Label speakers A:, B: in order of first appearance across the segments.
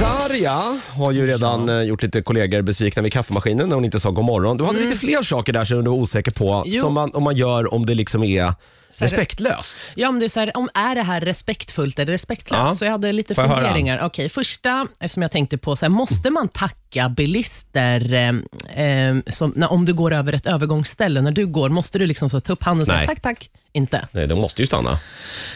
A: Darja har ju redan eh, gjort lite kollegor besvikna vid kaffemaskinen när hon inte sa god morgon. Du hade lite fler saker där som du var osäker på,
B: Mm. Jo.
A: som man, om man gör om det liksom är
B: här-
A: respektlöst.
B: Ja, men det är, så här, om, är det här respektfullt eller respektlöst?
A: Ja.
B: Så jag hade lite
A: Får jag höra?
B: funderingar. Okej, första eh, som jag tänkte på, så här, måste man tacka bilister eh, eh, som, när, om du går över ett övergångsställe? När du går, måste du liksom så här, ta upp handen och
A: Nej.
B: säga tack, tack? Inte.
A: Nej, de måste ju stanna.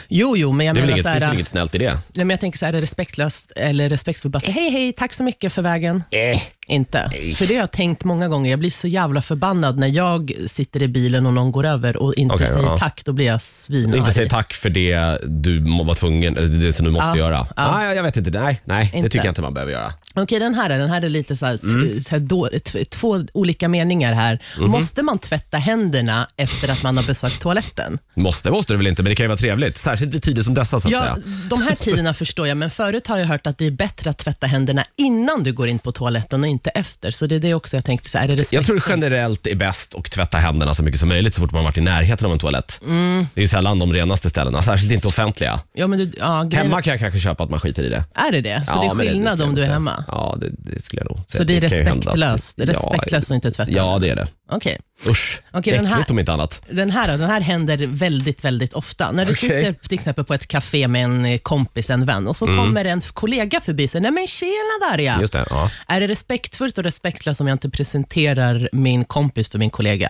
B: Jo, jo, men jag
A: Det är väl
B: menar
A: inget,
B: så
A: finns väl
B: här, Eh,
A: inget snällt i det?
B: nej, men jag tänker så här, är det respektlöst eller respektfullt? Bara säga hej, hej, tack så mycket för vägen.
A: Eh.
B: Inte. För det har jag tänkt många gånger. Jag blir så jävla förbannad när jag sitter i bilen och någon går över och inte
A: Okej,
B: säger
A: ja.
B: tack. Då blir jag svinarg.
A: Inte säga tack för det du må- var tvungen, eller det som du måste
B: Ja,
A: göra.
B: ja.
A: Nej, jag vet inte. Nej, nej det
B: Inte.
A: tycker jag inte man behöver göra.
B: Okej, den här, är- den här är lite så här, t-
A: Mm.
B: så här då, t- två olika meningar här.
A: Mhm.
B: Måste man tvätta händerna efter att man har besökt toaletten?
A: Måste måste det väl inte, men det kan ju vara trevligt. Särskilt i tider som dessa så att
B: Ja,
A: säga.
B: de här tiderna förstår jag, men förut har jag hört att det är bättre att tvätta händerna innan du går in på toaletten och inte efter. Så det är det också jag tänkte, så här, är det
A: Jag tror
B: respektfullt?
A: generellt det är bäst att tvätta händerna så mycket som möjligt så fort man varit i närheten av en toalett. Det är ju sällan de renaste ställena, särskilt inte offentliga.
B: Ja, men du, ja, grejen,
A: Hemma kan jag kanske köpa att man skiter i det.
B: Är det det? Så det är
A: men
B: skillnad
A: skulle jag
B: om du
A: nog
B: är
A: säga.
B: hemma?
A: Ja, det, det skulle jag nog säga.
B: Så det är
A: kan ju hända att-
B: respektlöst, respektlöst att inte tvätta
A: Ja, ja, det är det.
B: Okej.
A: Usch,
B: Okej, den
A: äckligt
B: här-
A: om inte annat.
B: Den här, då, den här händer väldigt, väldigt ofta. När du
A: Okej.
B: sitter till exempel på ett café med en eh, kompis, en vän, och så kommer en kollega förbi och säger ”Nej men tjena Darja!”
A: Mm. Just det, ja.
B: Är det respektfullt och respektlöst om jag inte presenterar min kompis för min kollega?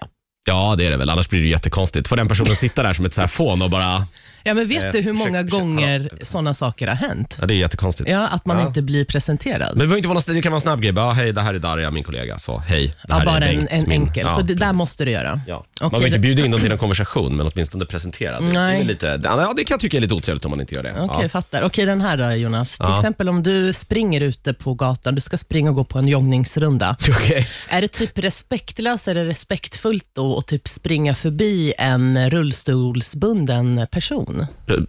A: ja, det är det väl. Annars blir det ju jättekonstigt. Får den personen sitta där som ett så här fån och bara...
B: Ja, men vet
A: Eh,
B: du hur
A: försök-
B: många
A: försök-
B: gånger sådana saker har hänt?
A: Ja, det är jättekonstigt.
B: Ja, att man
A: Ja.
B: inte blir presenterad.
A: Men det, behöver inte vara något, det kan vara en snabb grej. Bara, hej, det här är Darja, min kollega. Så, hej, det här
B: Ja, bara
A: är
B: en,
A: Bengt,
B: en
A: min...
B: enkel.
A: Ja,
B: så det där
A: precis.
B: måste du göra.
A: Ja.
B: Okej,
A: man behöver inte
B: det-
A: bjuda in dem till en konversation, men åtminstone presentera det. Det, är
B: Nej.
A: lite, ja, det kan jag tycka är lite otrevligt om man inte gör det.
B: Okej,
A: ja.
B: fattar. Okej, den här då Jonas. Till
A: Ja.
B: exempel om du springer ute på gatan, du ska springa och gå på en joggningsrunda.
A: Okej.
B: Är det typ respektlöst eller respektfullt då att typ springa förbi en rullstolsbunden person?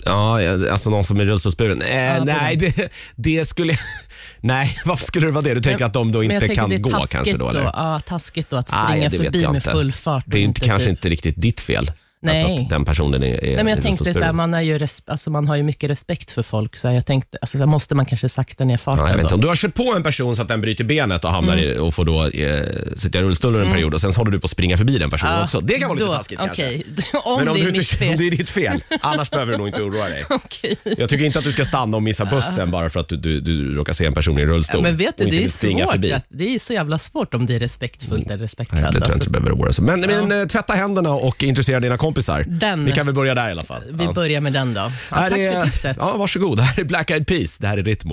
A: Ja, alltså någon som är rullstolsburen. Eh,
B: på
A: nej, det, det skulle... Nej, varför skulle det vara det? Du tänker att de då
B: Men jag
A: inte
B: tänker
A: kan
B: det är
A: gå
B: taskigt
A: kanske då? Eller?
B: Ja, taskigt då att
A: Nej,
B: springa
A: det vet
B: förbi
A: jag
B: med
A: inte.
B: full fart. och
A: Det är inte, kanske
B: typ-
A: inte riktigt ditt fel.
B: Nej.
A: Alltså att den personen är, är
B: Nej, men jag tänkte
A: rullstolsburen.
B: så här, man, är ju res- alltså, man har ju mycket respekt för folk, så jag tänkte, alltså, så här, måste man kanske sakta ner farten
A: Ja, jag vet inte.
B: då? Mm.
A: Om du har kört på en person så att den bryter benet och hamnar i, och får då eh, sitta i rullstol under en period och sen så håller du på att springa förbi den personen
B: Ja,
A: också. Det kan vara lite
B: då-
A: taskigt kanske.
B: okej. om,
A: Men om,
B: det
A: du
B: är
A: inte,
B: mitt fel.
A: om det är ditt fel, annars behöver du nog inte oroa dig.
B: Okej.
A: Jag tycker inte att du ska stanna och missa bussen bara för att du, du, du råkar se en person i rullstol.
B: Men vet du,
A: och inte
B: det är,
A: vill springa
B: svårt
A: förbi.
B: att, det är så jävla svårt om det är respektfullt eller
A: Nej, det
B: respektlöst.
A: tror jag inte
B: Alltså,
A: du behöver oroa dig för. Men, men eh, tvätta händerna och intressera dina kompisar.
B: Den-
A: Vi kan väl börja där i alla fall.
B: Mm. vi
A: Ja.
B: börjar med den då. Ja,
A: Här
B: tack
A: är,
B: för tipset.
A: Ja, varsågod. Här är Black Eyed Peas. Det här är Ritmo.